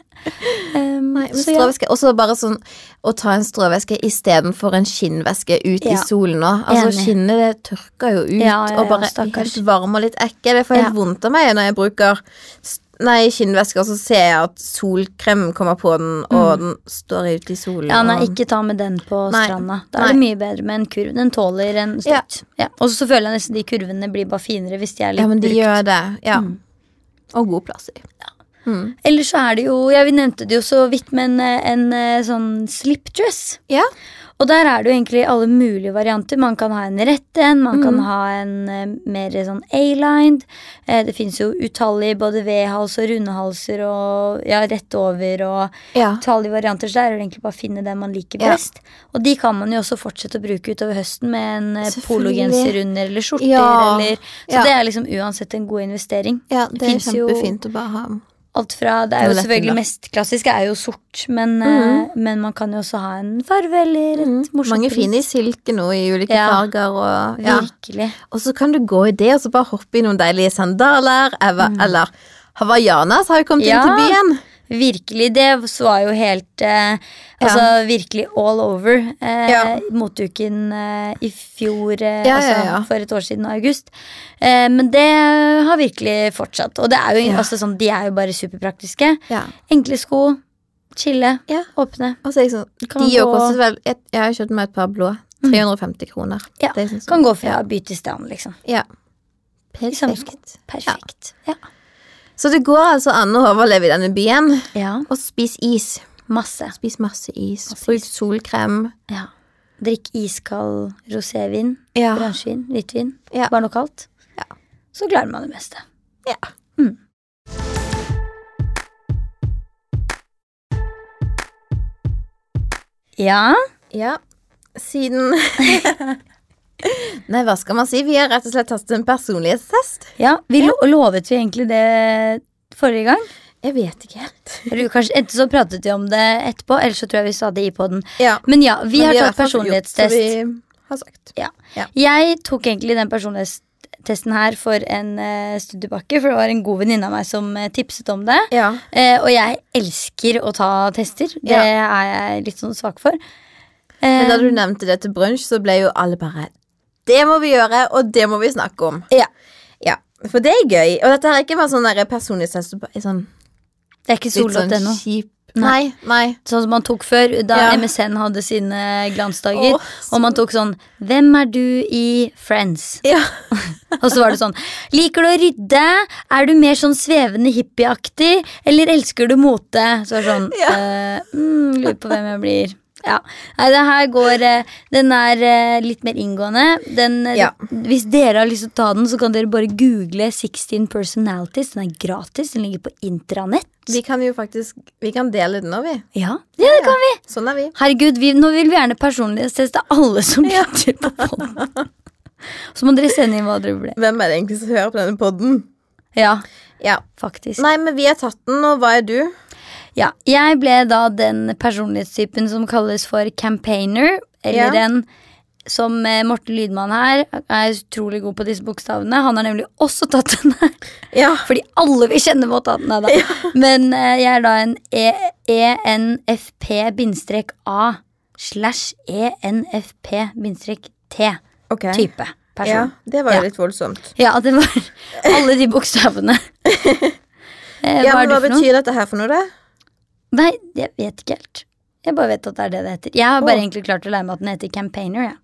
Um,
Nei, men
så ja.
stråvæske, også bare sånn Å ta en stråvæske istedenfor en skinnvæske ut i
Ja.
solen nå. Altså,
Enig.
Skinnet det tørker jo ut
Ja, ja, ja,
og bare blir
stakkars.
helt varm og litt ekkel. Det får helt
Ja.
vondt av meg når jeg bruker s- Nei, skinnvæske, og så ser jeg at solkrem kommer på den, og den står ute i solen.
Mm. Ja, nei,
og-
ikke ta med den på
Nei.
stranda. Da er det mye bedre med en kurv. Den tåler en støtt. Ja. Og så føler jeg nesten de kurvene blir bare finere hvis de er litt
Ja, men de
brukt. Mm.
gjør det. Ja. Og god plass i.
Eller så er det jo, jeg nevnte det jo så vidt, men eh, en eh, sånn slipdress.
Ja.
Og der er det jo egentlig alle mulige varianter. Man kan ha en rett en, man kan
Mm.
ha en eh, mer sånn A-lined. Eh, det fins jo utallige både V-hals og runde halser og ja, rett over og
Ja.
utallige varianter. Så der er det egentlig bare å finne den man liker
Ja.
best. Og de kan man jo også fortsette å bruke utover høsten med en eh,
Selvfølgelig.
pologenser under eller skjorter
Ja.
eller Så
Ja.
det er liksom uansett en god investering.
ja, det er
finnes jo-
kjempefint å bare ha.
Alt fra, Det er jo
Toaletten,
selvfølgelig
da.
mest klassisk er jo sort, men, eh, men man kan jo også ha en farve eller et Mm, morsomt
Mhm. Mange
print.
fine i silke nå, i ulike
Ja.
farger og ja.
Virkelig.
Og så kan du gå i det, og så bare hoppe i noen deilige sandaler, eller, eller Hawaiianas har jo kommet
Mm. Ja.
inn til byen.
Virkelig, det så var jo helt eh, Altså virkelig all over. Eh,
Ja.
Motuken eh, i fjor, eh,
Ja,
altså
ja, ja.
for et år siden, august. Eh, men det har virkelig fortsatt. Og det er jo,
Ja.
altså, sånn, de er jo bare superpraktiske.
Ja.
Enkle sko, chille,
Ja.
åpne.
Og så er jeg sånn,
Kan
de
gå- Mm.
jo kostet vel Jeg, jeg har kjøpt meg et par blå. 350 kroner.
Ja,
Det er sånn som-
Kan gå fra by til stand, liksom.
Ja.
I samme sko.
Perfekt.
Perfekt. Ja.
Så det går altså an å overleve i denne byen.
ja.
Og spis is.
Masse.
Spis masse is.
Masse
Bruk
is.
solkrem.
Ja. Drikk iskald rosévin,
Ja.
bransjevin, hvitvin.
Ah. Ja.
Bare noe kaldt.
Ja.
Så klarer man det meste. Mm.
ja.
Ja.
Ja, siden <laughs> Nei, hva skal man si? Vi har rett og slett tatt en personlighetstest.
Ja, vi lo Lovet vi egentlig det forrige gang?
Jeg vet ikke helt.
Eller kanskje Enten så pratet vi om det etterpå, eller så tror jeg vi sa det i poden.
Ja,
Men ja, vi
men
har
i
tatt
hvert fall gjort som
personlighetstest.
Vi har sagt.
Jeg tok egentlig den personlighetstesten her for en eh, studiepakke, for det var en god venninne av meg som eh, tipset om det.
Ja.
Eh, og jeg elsker å ta tester. Det
Ja.
er jeg litt sånn svak for.
Men da
Eh,
du nevnte det til brunsj, så ble jo alle bare Det må vi gjøre, og det må vi snakke om.
Ja.
Ja, For det er gøy. Og dette er ikke bare sånn der personlighetstest. Bare sånn,
det er ikke
litt sånn
solott.no.
kjip
Nei.
Nei, nei.
Sånn som man tok før, da
Ja.
MSN hadde sine glansdager.
Åh,
og man tok sånn 'Hvem er du i Friends?'
Ja.
Og så var det sånn Liker du å rydde? Er du mer sånn svevende hippieaktig? Eller elsker du mote? Så var det sånn
Ja.
eh, mm, Lurer på hvem jeg blir. Ja. Nei, det her går eh, Den er eh, litt mer inngående. Den, eh,
Ja.
Hvis dere har lyst til å ta den, så kan dere bare google 16 personalities. Den er gratis. Den ligger på intranett.
Vi kan jo faktisk Vi kan dele den òg, vi.
Ja, ja det kan vi.
Sånn er vi.
Herregud, vi, nå vil vi gjerne personlighetsteste alle som
Ja.
lytter på podden. Så må dere sende inn hva dere ble.
Hvem er det egentlig som hører på denne podden?
Ja,
Ja.
faktisk.
Nei, men vi har tatt den, og hva er du?
Ja, jeg ble da den personlighetstypen som kalles for campaigner, eller
Ja.
en som eh, Morten Lydmann her er utrolig god på disse bokstavene. Han har nemlig også tatt den her, <laughs>
Ja.
fordi alle vi kjenner må ha tatt den her. da. Men eh, jeg er da en E, ENFP-A slash E ENFP-T-type
Ok. Ja,
person.
det var jo
Ja.
litt voldsomt.
Ja. det var <laughs> alle de
<laughs>
bokstavene. Eh,
Ja,
hva er
men
du
Hva
for noe?
betyr dette her for noe, da?
Nei, jeg vet ikke helt. Jeg bare vet at det er det det heter. Jeg har bare
Åh.
egentlig klart å lære meg at den heter campaigner. jeg.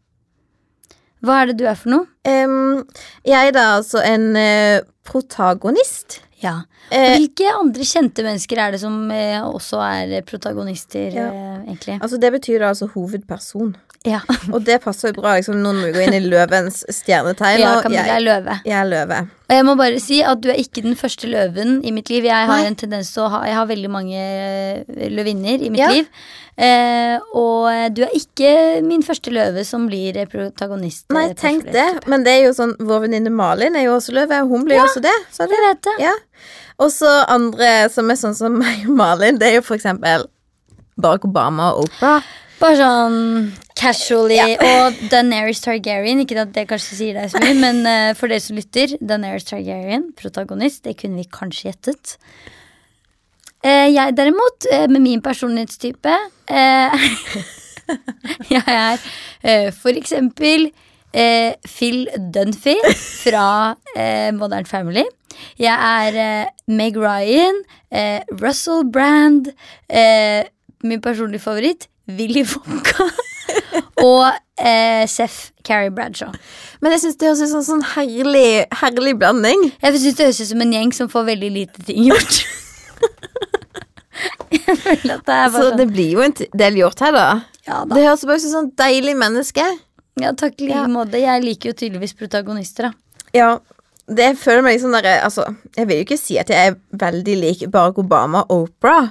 Hva er det du er for noe?
Em, jeg er da altså en eh, protagonist.
Ja.
Eh,
Hvilke andre kjente mennesker er det som eh, også er eh, protagonister,
Ja.
eh, egentlig?
altså Det betyr da altså hovedperson.
Ja,
Og det passer jo bra. liksom Noen må gå inn i løvens stjernetegn.
ja
og
Camilla
jeg,
er løve.
jeg er løve.
Og jeg må bare si at du er ikke den første løven i mitt liv. Jeg har
Nei.
en tendens til å ha Jeg har veldig mange eh, løvinner i mitt
Ja.
liv. Eh, og eh, du er ikke min første løve som blir eh, protagonist. eh,
Nei, tenk
personlighet.
det. Men det er jo sånn, vår venninne Malin er jo også løve. og Hun blir jo også det. Så det
Jeg vet det.
ja. Og så andre som er sånn som meg og Malin, det er jo for eksempel Barack Obama og Oprah.
Bare sånn casually. Og Daenerys Targaryen. Ikke at det kanskje sier deg så mye, men eh, for dere som lytter, Daenerys Targaryen, protagonist, det kunne vi kanskje gjettet. Eh, jeg derimot, eh, med min personlighetstype eh, <laughs> Jeg er eh, for eksempel eh, Phil Dunphy fra eh, Modern Family. Jeg er eh, Meg Ryan, eh, Russell Brand, eh, min personlige favoritt, Willy Wonka <laughs> og eh, Seth Carrie Bradshaw.
Men jeg syns det høres ut som en sånn herlig, herlig blanding.
Jeg synes det høres ut som en gjeng som får veldig lite ting gjort. <laughs> Jeg føler at det er bare
Så
sånn
det blir jo en t- del gjort her, da.
Ja da.
Det høres bare ut som et sånn deilig menneske.
Ja, takk i like
Ja.
måte. Jeg liker jo tydeligvis protagonister, da.
Ja, det føler meg liksom der, altså, Jeg vil jo ikke si at jeg er veldig lik Barack Obama og Oprah.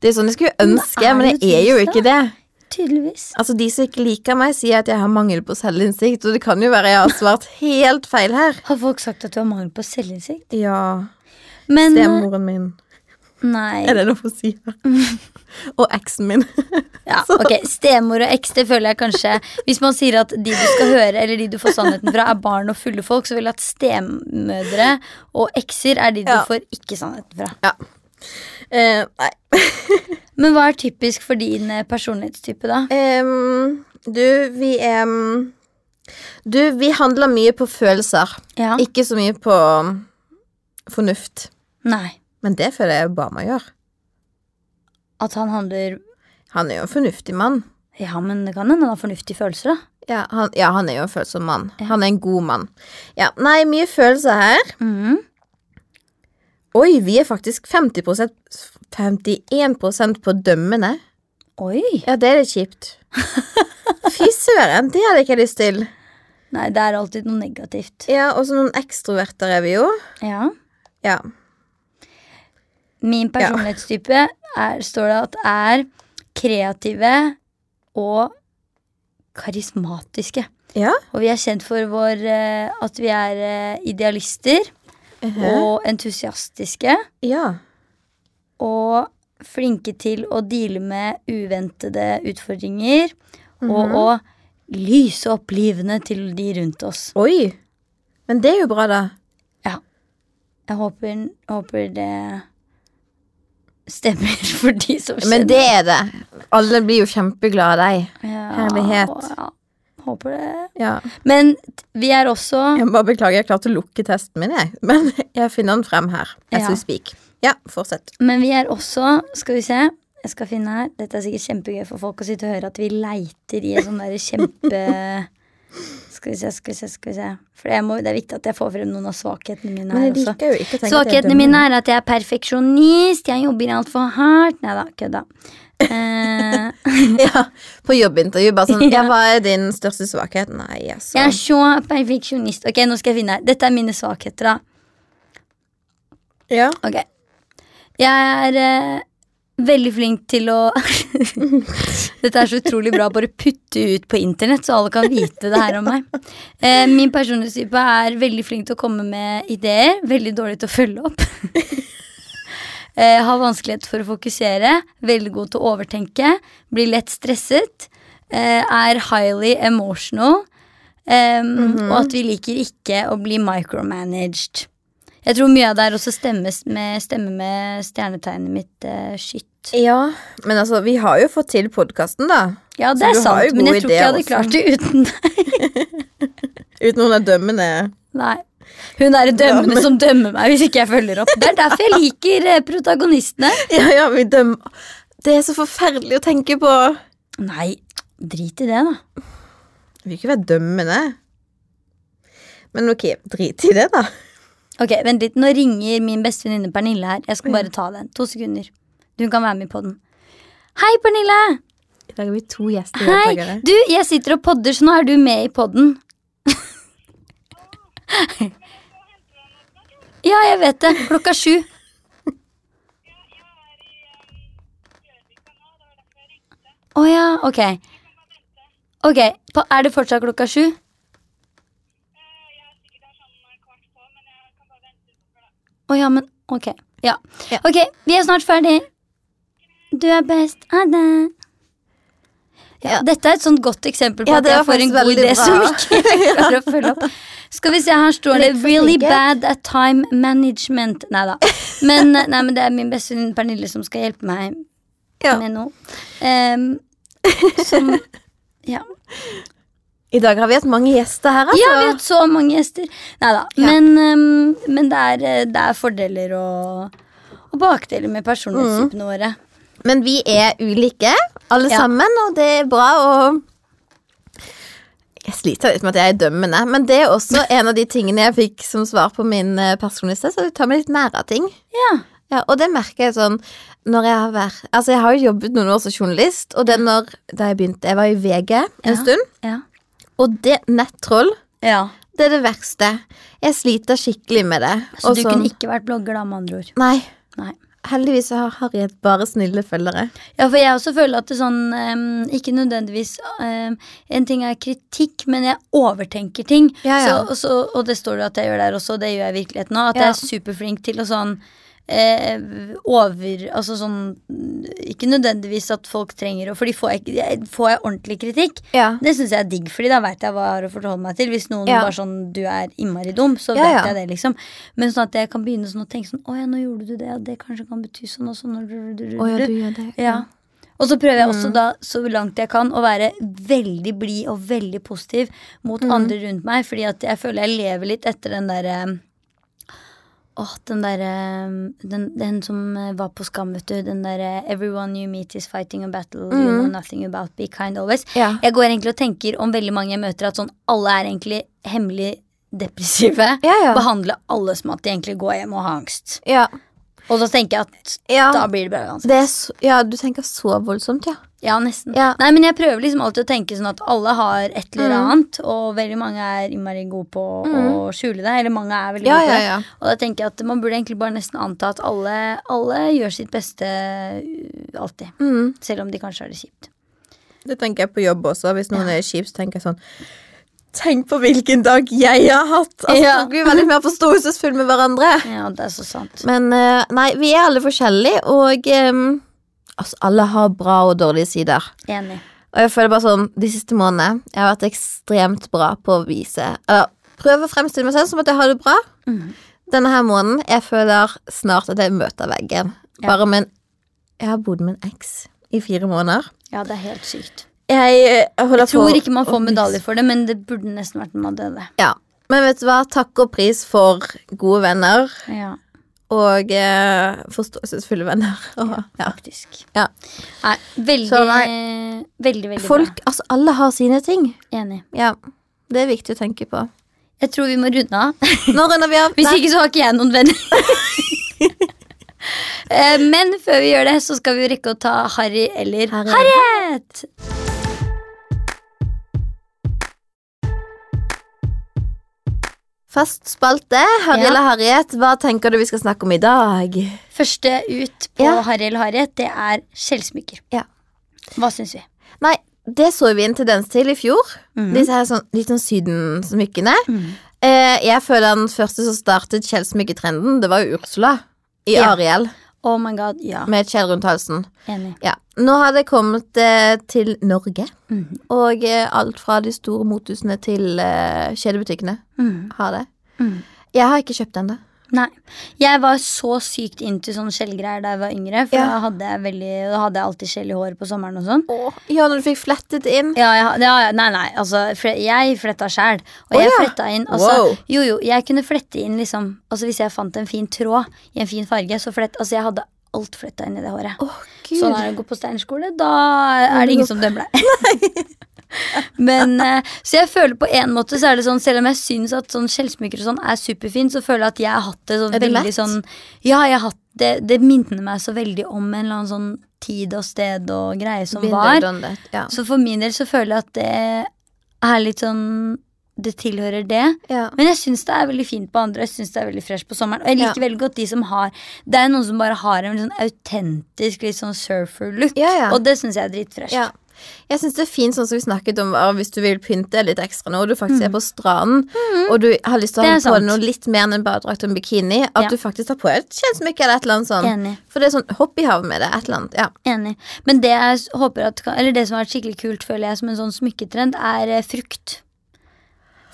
Det er sånn jeg skulle ønske,
er
men
det
jeg er jo
trist,
ikke det.
Tydeligvis.
Altså, De som ikke liker meg, sier at jeg har mangel på selvinnsikt, og det kan jo være jeg har
<laughs>
svart helt feil her.
Har folk sagt at du har mangel på selvinnsikt?
Ja,
Men eh,
stemoren min.
Nei.
Er det lov å si her?
<laughs>
Og eksen min. <laughs>
Ja, ok, Stemor og eks, det føler jeg kanskje Hvis man sier at de du skal høre, eller de du får sannheten fra, er barn og fulle folk, så vil jeg at stemødre og ekser er de du
Ja.
får ikke sannheten fra.
Ja. Eh, nei.
Men hva er typisk for din eh, personlighetstype, da?
Em, du, vi em, Du, vi handler mye på følelser.
Ja.
Ikke så mye på fornuft.
Nei.
Men det føler jeg Obama gjør.
At han handler
Han er jo en fornuftig mann.
Ja, men det kan hende han har fornuftige følelser, da.
Ja, han, ja, han er jo en følsom mann. Han er en god mann. Ja, Nei, mye følelser her.
Mhm.
Oi, vi er faktisk 50 51 på dømmende.
Oi!
Ja, det er litt kjipt. Fy søren, det hadde jeg ikke lyst til.
Nei, det er alltid noe negativt.
Ja, Og så noen ekstroverter er vi jo.
Ja.
Ja.
Min personlighetstype er, står det at er kreative og karismatiske.
Ja.
Og vi er kjent for vår, eh, at vi er eh, idealister
Mhm.
og entusiastiske.
ja.
Og flinke til å deale med uventede utfordringer.
Mhm.
Og å lyse opp livene til de rundt oss.
Oi! Men det er jo bra, da.
Jeg håper, håper det stemmer <laughs> for de som kjenner
Men det er det. Alle blir jo kjempeglade av deg.
Ja,
Herlighet.
Ja, håper det.
Ja.
Men t- vi er også
<laughs> Jeg må bare beklager, jeg klarte å lukke testen min, jeg. <laughs> Men jeg finner den frem her. As
Ja.
we speak. Ja, fortsett.
Men vi er også Skal vi se. Jeg skal finne her. Dette er sikkert kjempegøy for folk å sitte og høre at vi leiter i en sånn derre kjempe <laughs> Skal vi se, skal vi se, skal vi se. For jeg må, det er viktig at jeg får frem noen av svakhetene mine
Men
her
jeg
også.
liker jo ikke å tenke at jeg
Svakhetene
dømmer.
mine er at jeg er perfeksjonist, jeg jobber altfor hardt Nei da, kødda. Eh,
<laughs> Ja, På jobbintervju. Bare sånn
<laughs> Ja.
ja. 'Hva er din største svakhet?' Nei, altså.
<laughs> jeg er så perfeksjonist. Ok, nå skal jeg finne her. Dette er mine svakheter, da.
Ja.
Ok. Jeg er eh, veldig flink til å Dette er så utrolig bra. Bare putte ut på internett, så alle kan vite det her om meg. Eh, min personlighetstype er veldig flink til å komme med ideer. Veldig dårlig til å følge opp. <laughs> eh, har vanskelighet for å fokusere. Veldig god til å overtenke. Blir lett stresset. Eh, er highly emotional. eh, Og at vi liker ikke å bli micromanaged. Jeg tror mye av det her også stemmes med, stemmer med stjernetegnet mitt eh, skytt.
ja. Men altså, vi har jo fått til podkasten, da.
Ja,
Så
det er
du har jo
sant, men jeg
gode
tror ikke jeg hadde
ideer
klart det uten <laughs> deg.
Uten noen av dømmende
Nei. Hun er dømmende
Dømme.
som dømmer meg hvis ikke jeg følger opp. Det er derfor jeg liker eh, protagonistene.
<laughs> Ja, ja, vi dømmer Det er så forferdelig å tenke på.
Nei, drit i det, da.
Vi vil ikke være dømmende. Men ok, drit i det, da.
Ok, Vent litt, nå ringer min beste venninne Pernille her. Jeg skal bare ta den. To sekunder. Hun kan være med på den. Hei, Pernille!
I dag har vi to gjester.
Hei! Du, jeg sitter og podder, så nå er du med i podden. <laughs> ja, jeg vet det. Klokka sju. Å ja, ok. Ok, på, Er det fortsatt klokka sju? Å ja, men ok. Ja.
Ja.
Ok, vi er snart ferdig. Du er best. Ha det. Ja, dette er et sånt godt eksempel på
Ja,
at
det
jeg
var
får en
faktisk
god
veldig
idé
bra.
som
<laughs>
ikke jeg klarer å følge opp. Skal vi se, her står det
Litt for
'really
sikkert.
bad at time management'. Nei da. Men, eh, nei, men det er min beste venninne Pernille som skal hjelpe meg
Ja.
med noe. Ehm, som Ja.
I dag har vi hatt mange gjester her, altså.
Ja, vi har hatt så mange gjester. Nei da.
Ja.
Men, ehm, men det, er, eh, det er fordeler og, og bakdeler med personlighetstypene
Mm.
våre.
Men vi er ulike, alle
Ja.
sammen, og det er bra å jeg sliter litt med at jeg er dømmende, men det er også
<laughs>
en av de tingene jeg fikk som svar på min eh, personliste. Så du tar meg litt nær av ting.
Ja.
Ja, og det merker jeg sånn når jeg har vært Altså, jeg har jo jobbet noen år som journalist, og det når da jeg begynte Jeg var i VG en
Ja.
stund,
Ja.
og det nettroll,
ja.
det er det verste. Jeg sliter skikkelig med det.
Så
og
du
sånn-
kunne ikke vært blogger, da, med andre ord.
Nei.
Nei.
Heldigvis så har Harriet bare snille følgere.
Ja, for jeg også føler at det sånn em, Ikke nødvendigvis em, En ting er kritikk, men jeg overtenker ting.
Ja, ja.
Så, og så, og det står det at jeg gjør der også, og det gjør jeg i virkeligheten òg. At
Ja.
jeg er superflink til å sånn eh, over Altså sånn Ikke nødvendigvis at folk trenger å Fordi får jeg, jeg- får jeg ordentlig kritikk,
Ja.
det syns jeg er digg, fordi da veit jeg hva jeg har å forholde meg til. Hvis noen
Ja.
bare sånn Du er innmari dum, så
Ja,
vet
ja.
jeg det, liksom. Men sånn at jeg kan begynne sånn å tenke sånn Å ja, nå gjorde du det, og det kanskje kan bety sånn og sånn. Og,
Å ja, Mm. du gjør det.
Ja. Og så prøver jeg også da, så langt jeg kan, å være veldig blid og veldig positiv mot
Mm.
andre rundt meg, fordi at jeg føler jeg lever litt etter den derre Åh, den derre den, den som eh, var på Skam, vet du. Den derre 'Everyone you meet is fighting a battle you
Mm.
know nothing about, be kind always'.
Ja.
Jeg går egentlig og tenker om veldig mange jeg møter, at sånn alle er egentlig hemmelig depressive.
Ja, ja.
Behandle alle som at de egentlig går hjem og har angst.
Ja.
Og da tenker jeg at
Ja.
da blir det bra uansett.
Det er så, ja, du tenker så voldsomt, ja.
Ja, nesten.
Ja. Mm.
Nei, men jeg prøver liksom alltid å tenke sånn at alle har et eller annet, og veldig mange er innmari gode på å- å skjule det. Eller mange er veldig
Ja,
gode på
ja,
det.
ja.
Og da tenker jeg at man burde egentlig bare nesten anta at alle, alle gjør sitt beste uh, alltid.
Mm.
Selv om de kanskje har det kjipt.
Det tenker jeg på jobb også. Hvis noen er kjip, så tenker jeg sånn Tenk på hvilken dag jeg har hatt! Altså,
Ja.
Folk blir veldig mer forståelsesfulle med hverandre.
Ja, det er så sant.
Men eh, nei, vi er alle forskjellige, og em, altså, alle har bra og dårlige sider.
Enig.
Og jeg føler bare sånn, De siste månedene jeg har vært ekstremt bra på å vise Eller prøve å fremstille meg selv som at jeg har det bra. Denne her måneden jeg føler snart at jeg møter veggen.
Ja.
Bare med en Jeg har bodd med en eks i fire måneder.
Ja, det er helt sykt.
Jeg, eh, holder
Jeg tror
på
ikke man
å
får
miste-
medalje for det, men det burde nesten vært når man døde.
Ja. Men vet du hva? Takk og pris for gode venner
Ja,
og eh, forståelsesfulle venner. Og, <laughs> ja.
faktisk.
Ja.
Nei, veldig,
Så
veldig, veldig
Folk, altså alle har sine ting.
bra. Enig.
Ja. Det er viktig å tenke på.
Jeg tror vi må runde av.
Nå runder vi av.
Hvis
Nei.
ikke så har ikke jeg noen venner.
<laughs>
Eh, Men før vi gjør det, så skal vi jo rekke å ta Harry eller
Harry.
Harriet.
Fast spalte. Harry
Ja.
eller Harriet, hva tenker du vi skal snakke om i dag?
Første ut på
Ja.
Harry eller Harriet, det er skjellsmykker.
Ja.
Hva syns vi?
Nei, det så vi en tendens til i fjor. Disse her sånn, litt sånn sydensmykkene. Eh, jeg føler den første som startet skjellsmykkettrenden, det var jo Ursula. I
Ja.
Ariel,
Oh my god, ja.
med et skjell rundt halsen.
Enig.
Ja. Nå har det kommet eh, til Norge. Og eh, alt fra de store mothusene til eh, kjedebutikkene har det. Jeg har ikke kjøpt ennå.
Mm. Nei. Jeg var så sykt into sånne skjellgreier da jeg var yngre. For
Ja.
da, hadde jeg veldig, da hadde jeg alltid skjell i håret på sommeren og sånn.
Ja, når du fikk flettet inn.
Ja, jeg, ja, ja, nei, nei, altså fle- Jeg fletta sjæl. Og
Å,
jeg
ja.
fletta inn altså,
Wow.
Jo, jo, jeg kunne flette inn liksom Altså Hvis jeg fant en fin tråd i en fin farge, så flett Altså, jeg hadde alt fletta inn i det håret. Sånn
Å, gud.
så når jeg går på steinerskole, da er det ingen som dømmer deg. <laughs> Men, eh, så jeg føler på en måte så er det sånn Selv om jeg syns at sånn skjellsmykker og sånn er superfint, så føler jeg at jeg har hatt det sånn
Er det
veldig
lett?
sånn Ja, jeg har hatt det Det minner meg så veldig om en eller annen sånn tid og sted og greie som
Been
var.
there, done that, Ja.
Så for min del så føler jeg at det er litt sånn Det tilhører det.
Ja.
Men jeg syns det er veldig fint på andre, og jeg synes det er veldig fresh på sommeren. Og jeg liker veldig godt de som har Det er jo noen som bare har en veldig sånn autentisk, litt sånn surfer-look,
Ja, ja.
og det syns jeg er dritfresh.
Ja. Jeg synes det er fint sånn som vi snakket om var Hvis du vil pynte litt ekstra nå Og du faktisk er på stranden Og du har lyst til å
Mm. Det
ha
er
på
sant.
noe litt mer enn en badedrakt og en bikini At
Ja.
du faktisk tar på et kjensmykke eller et eller annet sånn
Enig.
For det er sånn hopp i havet med det, et eller annet ja.
Enig. Men det jeg s- håper at kan- Eller det som har vært skikkelig kult, føler jeg, som en sånn smykketrend, er eh, frukt.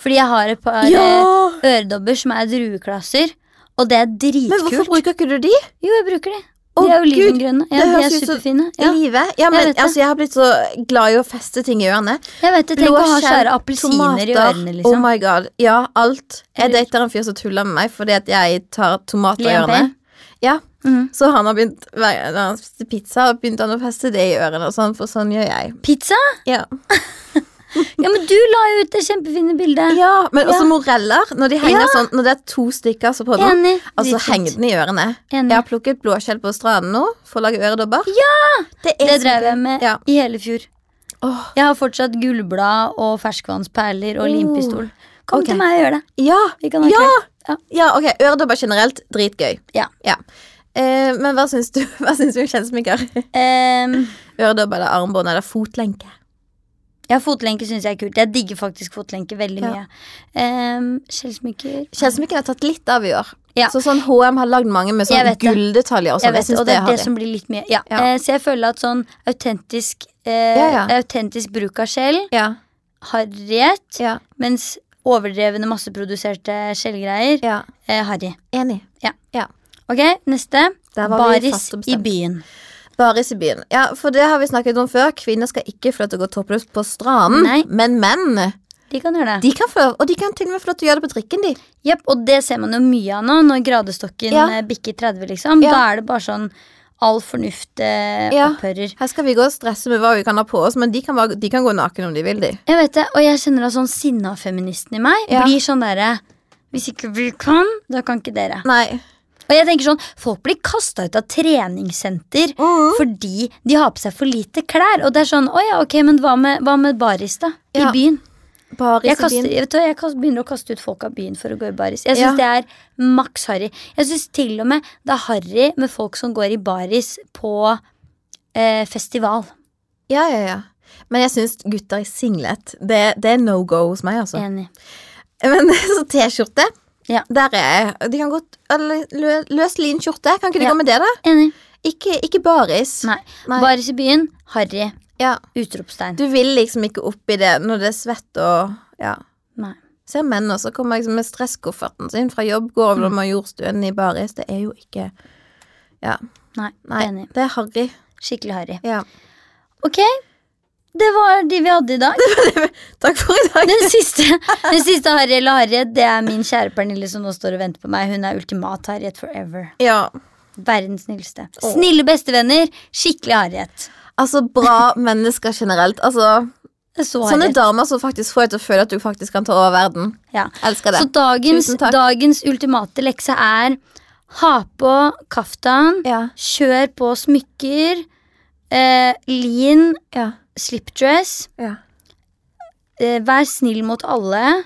Fordi jeg har et par
Ja!
eh, øredobber som er drueklasser, og det er dritkult.
Men hvorfor bruker ikke du de?
Jo, jeg bruker de.
Å,
De er jo
Gud,
olivengrønne. Ja,
det
de er
høres ut som-
superfine.
I
Ja.
livet? Ja, men
vet det.
altså, jeg har blitt så glad i å feste ting i ørene
Jeg vet det. Tenk
Blå
å ha
skjell,
skjære appelsiner i
tomater.
ørene,
Oh
liksom.
my god, ja, alt Jeg
Eller-
dater en fyr som tuller med meg Fordi at jeg tar tomater i
Liam
ørene
Payne?
Ja,
Mhm.
så han har begynt Hver gang han spiste pizza Begynte han å feste det i ørene og sånn, For sånn gjør jeg
Pizza?
Ja,
Ja, men du la jo ut det kjempefine bildet.
ja Men også
Ja.
moreller. Når de henger sånn Når det er to stykker så på den,
Enig.
altså
Dritfint.
heng den i ørene.
Enig.
Jeg har plukket blåskjell på stranden nå for å lage øredobber. Det, er
Det
så
drev
gøy.
jeg med
Ja.
i hele fjor.
Åh.
Jeg har fortsatt gullblad og ferskvannsperler og
Oh.
limpistol. Kom
Ok.
til meg og gjør det.
Ja!
Vi kan ha
ja.
kveld. Ja.
ja, ok. Øredobber generelt, dritgøy.
Ja.
Eh, men hva syns du <laughs> Hva syns du om kjensmykker?
Ehm,
Øredobber eller armbånd eller fotlenke?
Ja, fotlenke syns jeg er kult. Jeg digger faktisk fotlenke veldig
Ja.
mye. Um, Skjellsmykker
Skjellsmykken har tatt litt av i år.
Ja.
Så sånn HM har lagd mange med
Jeg
sånn
vet det.
gulldetaljer. Og
Jeg
sånn.
vet,
Jeg, synes
og det er det,
har de.
som blir litt mye. Ja.
Ja.
Eh, så jeg føler at sånn autentisk, eh,
Ja, ja.
autentisk bruk av skjell
Ja,
har rett,
ja,
mens overdrevne masseproduserte skjellgreier
ja.
eh, har de.
Enig.
Ok, neste.
Der var vi
Baris
fast og
i
bestemt.
byen.
Baris i byen. Ja, for det har vi snakket om før. Kvinner skal ikke få lov til å gå toppløs på stranden.
Nei.
Men menn,
De kan gjøre det.
de kan få lov, og de kan til og med få lov til å gjøre det på trikken, de.
Jepp, og det ser man jo mye av nå, når gradestokken
Ja.
eh, bikker 30, liksom.
Ja.
Da er det bare sånn all fornuft eh,
Ja.
opphører.
Her skal vi gå og stresse med hva vi kan ha på oss, men de kan, bare, de kan gå naken om de vil, de.
Jeg vet det, og jeg kjenner at sånn sinna feministen i meg
Ja.
blir sånn derre Hvis ikke vi kan, da kan ikke dere.
Nei.
Og jeg tenker sånn, Folk blir kasta ut av treningssenter fordi de har på seg for lite klær. Og det er sånn, å ja, ok, men hva med, hva med baris, da? I
Ja,
byen.
Baris
Jeg,
i
kaster,
byen.
vet du, hva, jeg kast- begynner å kaste ut folk av byen for å gå i baris. Jeg syns
Ja.
det er maks harry. Jeg syns til og med det er harry med folk som går i baris på eh, festival.
Ja, ja, ja. Men jeg syns gutter i singlet, det, det er no go hos meg, altså.
Enig.
<laughs> Men så T-skjorte,
Ja.
der er jeg. De kan godt eller, lø- Løs lin skjorte, kan ikke de
Ja.
gå med det, da?
Enig.
Ikke, ikke baris.
Nei.
Nei.
Baris i byen, harry.
Ja.
Utropstegn.
Du vil liksom ikke opp i det når det er svett og ja.
Nei.
Ser menn også kommer liksom med stresskofferten sin fra jobb, går
Mm.
over Majorstuen i baris. Det er jo ikke Ja.
Nei.
Nei,
Enig.
det er harry.
Skikkelig harry.
Ja.
Ok, det var de vi hadde i
<laughs>
dag.
Takk for i dag.
Den siste, den siste Harry eller Harriet, det er min kjære Pernille som nå står og venter på meg. Hun er ultimat Harriet forever.
<laughs> Ja.
Verdens snilleste.
Åh.
Snille bestevenner, skikkelig Harriet.
Altså, bra mennesker generelt. Altså,
Det er Så,
sånne
Harriet.
damer som faktisk får deg til å føle at du faktisk kan ta over verden.
ja.
Elsker det.
så dagens,
Tusen takk.
dagens ultimate lekse er ha på kaftan,
Ja.
kjør på smykker, eh, lin,
Ja.
slipdress,
Ja.
eh, vær snill mot alle,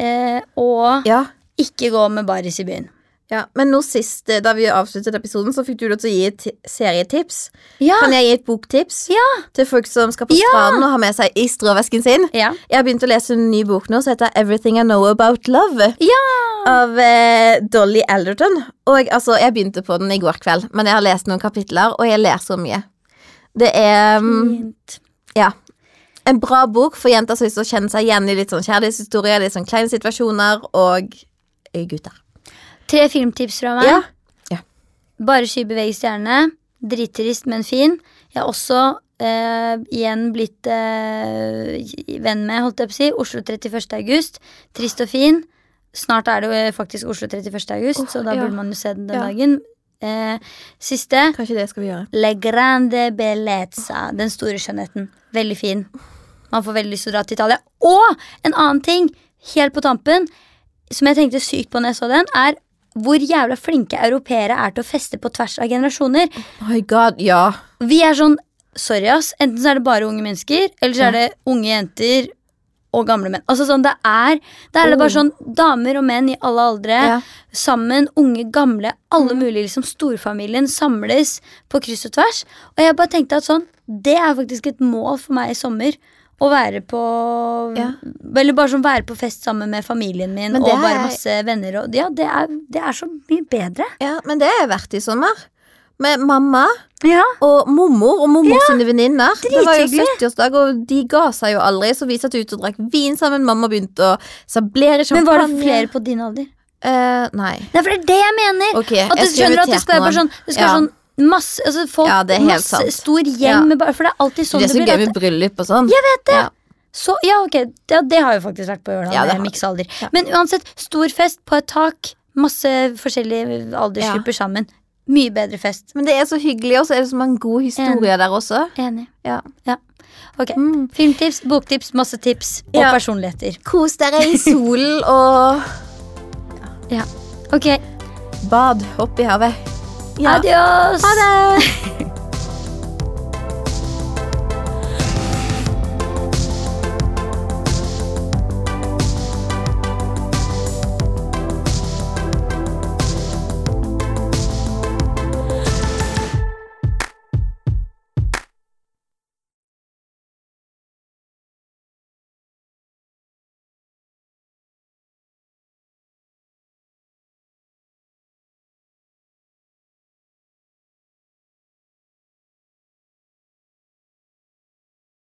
eh, og
ja.
ikke gå med baris i byen.
Ja, Men nå sist, eh, da vi avsluttet episoden, så fikk du lov til å gi et ti- serietips.
Ja.
Kan jeg gi et boktips
Ja.
til folk som skal på
Ja.
stranden og har med seg i stråvesken sin?
Ja.
Jeg har begynt å lese en ny bok nå som heter Everything I Know About Love. Av eh, Dolly Elderton. Og altså, jeg begynte på den i går kveld, men jeg har lest noen kapitler, og jeg ler så mye. Det er mm,
Fint.
Ja. En bra bok for jenter som har lyst til å kjenne seg igjen i litt sånn kjærlighetshistorier, litt sånn kleine situasjoner, og eh, gutter.
Tre filmtips fra meg.
Ja.
Bare sky beveger stjernene. Drittrist, men fin. Jeg har også eh, igjen blitt eh, venn med, holdt jeg på å si, Oslo 31. august. Trist og fin. Snart er det jo eh, faktisk Oslo 31. august,
Åh,
så da
ja.
burde man jo se den den
Ja.
dagen. Eh, siste
Kanskje det skal vi gjøre.
Le Grande Bellezza. Den store skjønnheten. Veldig fin. Man får veldig lyst til å dra til Italia. Og en annen ting, helt på tampen, som jeg tenkte sykt på når jeg så den, er hvor jævla flinke europeere er til å feste på tvers av generasjoner.
Oh my god, ja.
Vi er sånn Sorry, ass. Enten så er det bare unge mennesker, eller så er det unge jenter og gamle menn. Altså sånn, det er Der er det bare sånn damer og menn i alle aldre
Ja.
sammen, unge, gamle, alle
Mm.
mulige, liksom storfamilien samles på kryss og tvers. Og jeg bare tenkte at sånn, det er faktisk et mål for meg i sommer. Å være på
Ja.
Eller bare sånn være på fest sammen med familien min
Men
og
det
bare
er-
masse venner og Ja, det er, det er så mye bedre.
Ja, men det har jeg vært i sommer. Med mamma
Ja.
og mormor og mormor sine venninner. Det var jo
drithyggelig.
70-årsdag, og de ga seg jo aldri. Så vi satt ute og drakk vin sammen. Mamma begynte å sablere
Men
champagne.
var det flere på din alder?
Eh, nei.
Nei, for det er det jeg mener!
Ok,
At du skjønner
jeg
at det
prioriterte
skal være bare
noen.
sånn, det skal være
Ja.
sånn masse altså folk,
Ja, det er helt
masse,
sant.
Stor gjeng
Ja.
med bare For det er alltid sånn
det
det,
er så
blir.
gøy
At
med bryllup og sånn. Jeg vet det. Ja.
Så, ja, ok, det, det har jo faktisk vært på Ørland.
Ja, det
eh,
har
miksealder. Men uansett, stor fest på et tak. Masse forskjellige aldersgrupper sammen. Mye bedre fest.
Men det er så hyggelig, og så er det så mange gode historier der også.
Enig.
Ja.
Ok,
Mm.
Filmtips, boktips, masse tips og
Ja.
personligheter.
Kos dere <laughs> i solen og
Ok,
bad. Hopp i havet.
adios!
Ha det!